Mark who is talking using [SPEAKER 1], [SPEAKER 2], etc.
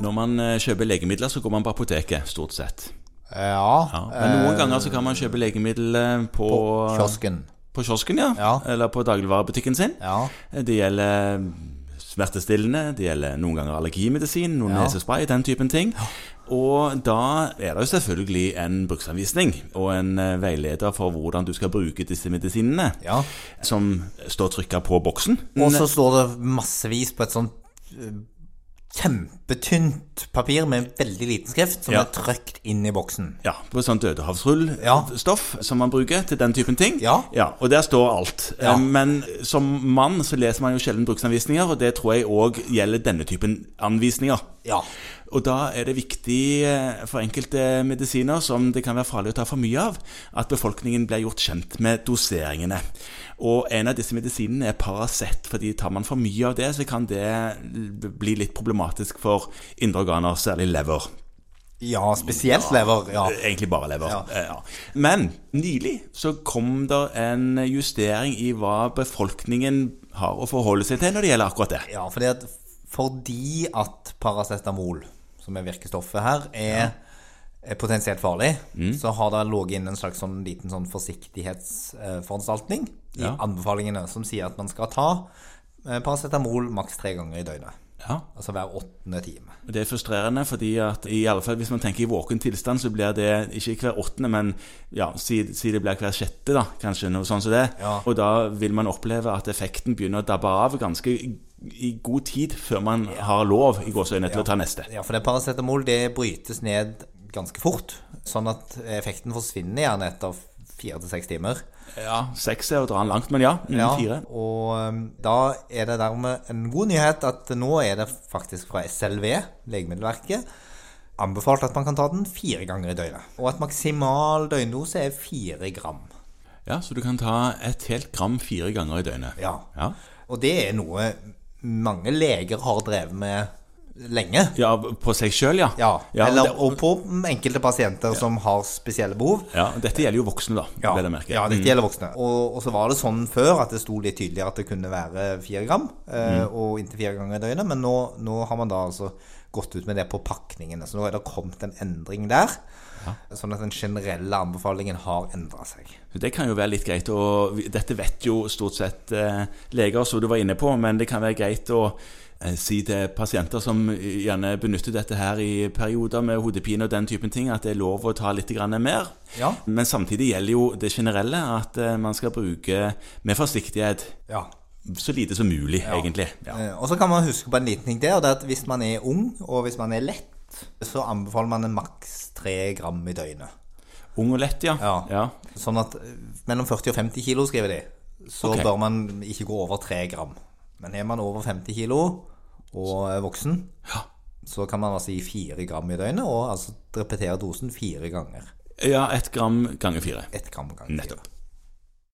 [SPEAKER 1] Når man eh, kjøper legemidler, så går man på apoteket, stort sett.
[SPEAKER 2] Ja.
[SPEAKER 1] Ja. Men noen
[SPEAKER 2] Eh,
[SPEAKER 1] ganger så kan man kjøpe legemidler eh, på,
[SPEAKER 2] Kiosken.
[SPEAKER 1] på kiosken, ja.
[SPEAKER 2] Ja.
[SPEAKER 1] Eller på dagligvarebutikken sin. Eh,
[SPEAKER 2] Ja.
[SPEAKER 1] Det gjelder mm, smertestillende, det gjelder noen ganger allergimedisin, noen
[SPEAKER 2] Ja.
[SPEAKER 1] nesespray, den typen ting. Og da er det jo selvfølgelig en bruksanvisning og en eh, veileder for hvordan du skal bruke disse medisinene,
[SPEAKER 2] ja.
[SPEAKER 1] som står trykka på boksen.
[SPEAKER 2] Og så står det massevis på et sånt eh, kjempetynt papir med veldig liten skrift, som
[SPEAKER 1] Ja.
[SPEAKER 2] er trykt inn i boksen.
[SPEAKER 1] Ja, på sånn dødehavsrullstoff
[SPEAKER 2] Ja.
[SPEAKER 1] stoff som man bruker til den typen ting.
[SPEAKER 2] Ja.
[SPEAKER 1] Og der står alt.
[SPEAKER 2] Ja.
[SPEAKER 1] Eh, Men som mann så leser man jo sjelden bruksanvisninger, og det tror jeg òg gjelder denne typen anvisninger.
[SPEAKER 2] Ja.
[SPEAKER 1] Og da er det viktig eh, for enkelte medisiner som det kan være farlig å ta for mye av, at befolkningen blir gjort kjent med doseringene. Og en av disse medisinene er Paracet, fordi tar man for mye av det, så kan det bli litt problematisk for indre organer, særlig lever.
[SPEAKER 2] Ja, spesielt lever. Ja.
[SPEAKER 1] Egentlig bare lever.
[SPEAKER 2] Ja.
[SPEAKER 1] Eh, Ja. Men nylig så kom det en justering i hva befolkningen har å forholde seg til når det gjelder akkurat det.
[SPEAKER 2] ja fordi, at, fordi at paracetamol, som er virkestoffet her, er, er potensielt farlig, så har det ligget inne en slags sånn liten sånn forsiktighetsforanstaltning i
[SPEAKER 1] Ja.
[SPEAKER 2] anbefalingene, som sier at man skal ta eh, paracetamol maks tre ganger i døgnet.
[SPEAKER 1] Ja.
[SPEAKER 2] Altså hver åttende time.
[SPEAKER 1] Og Det er frustrerende, fordi at i alle fall hvis man tenker i våken tilstand, så blir det ikke hver åttende, men ja, si, si det blir hver sjette, da, kanskje noe sånt som det.
[SPEAKER 2] Ja.
[SPEAKER 1] Og da vil man oppleve at effekten begynner å dabbe av ganske i i god tid før man har lov i gåseøynene til å ta neste.
[SPEAKER 2] Ja, for det paracetamol det brytes ned ganske fort, sånn at effekten forsvinner gjerne etter fire til seks timer.
[SPEAKER 1] Ja, Seks er å dra den langt, men ja. Innen
[SPEAKER 2] Ja,
[SPEAKER 1] fire.
[SPEAKER 2] og um, da er det dermed en god nyhet at nå er det faktisk fra SLV, Legemiddelverket, anbefalt at man kan ta den fire ganger i døgnet. Og at maksimal døgndose er fire gram.
[SPEAKER 1] Ja, Så du kan ta et helt gram fire ganger i døgnet.
[SPEAKER 2] Ja.
[SPEAKER 1] Ja.
[SPEAKER 2] Og det er noe mange leger har drevet med lenge.
[SPEAKER 1] Ja, på seg sjøl, ja.
[SPEAKER 2] Ja, eller,
[SPEAKER 1] det,
[SPEAKER 2] og på enkelte pasienter som har spesielle behov.
[SPEAKER 1] ja. Dette gjelder jo voksne, da.
[SPEAKER 2] Ja,
[SPEAKER 1] vel å merke. Mm.
[SPEAKER 2] ja dette gjelder voksne. Og, og så var det sånn før at det sto litt tydeligere at det kunne være fire gram, eh,
[SPEAKER 1] Mm.
[SPEAKER 2] og inntil fire ganger i døgnet, men nå, nå har man da altså gått ut med det på pakningene. Så nå er det kommet en endring der, sånn at den generelle anbefalingen har endra seg.
[SPEAKER 1] Det kan jo være litt greit å Dette vet jo stort sett eh, leger, som du var inne på, men det kan være greit å eh, si til pasienter som gjerne benytter dette her i perioder med hodepine og den typen ting, at det er lov å ta litt grann mer.
[SPEAKER 2] Ja.
[SPEAKER 1] Men samtidig gjelder jo det generelle at eh, man skal bruke med forsiktighet
[SPEAKER 2] Ja.
[SPEAKER 1] så lite som mulig, egentlig. Ja.
[SPEAKER 2] Eh, Og så kan man huske på en liten ting der, og det er at hvis man er ung, og hvis man er lett, så anbefaler man en maks tre gram i døgnet.
[SPEAKER 1] Ung og lett, ja.
[SPEAKER 2] Ja.
[SPEAKER 1] ja.
[SPEAKER 2] Sånn at eh, mellom 40 og 50 kilo, skriver de, så
[SPEAKER 1] Ok.
[SPEAKER 2] bør man ikke gå over 3 gram. Men er man over 50 kilo og er voksen,
[SPEAKER 1] Ja.
[SPEAKER 2] så kan man altså gi 4 gram i døgnet, og altså repetere dosen fire ganger.
[SPEAKER 1] Ja, ett gram ganger fire.
[SPEAKER 2] Ett gram ganger. fire.
[SPEAKER 1] Nettopp.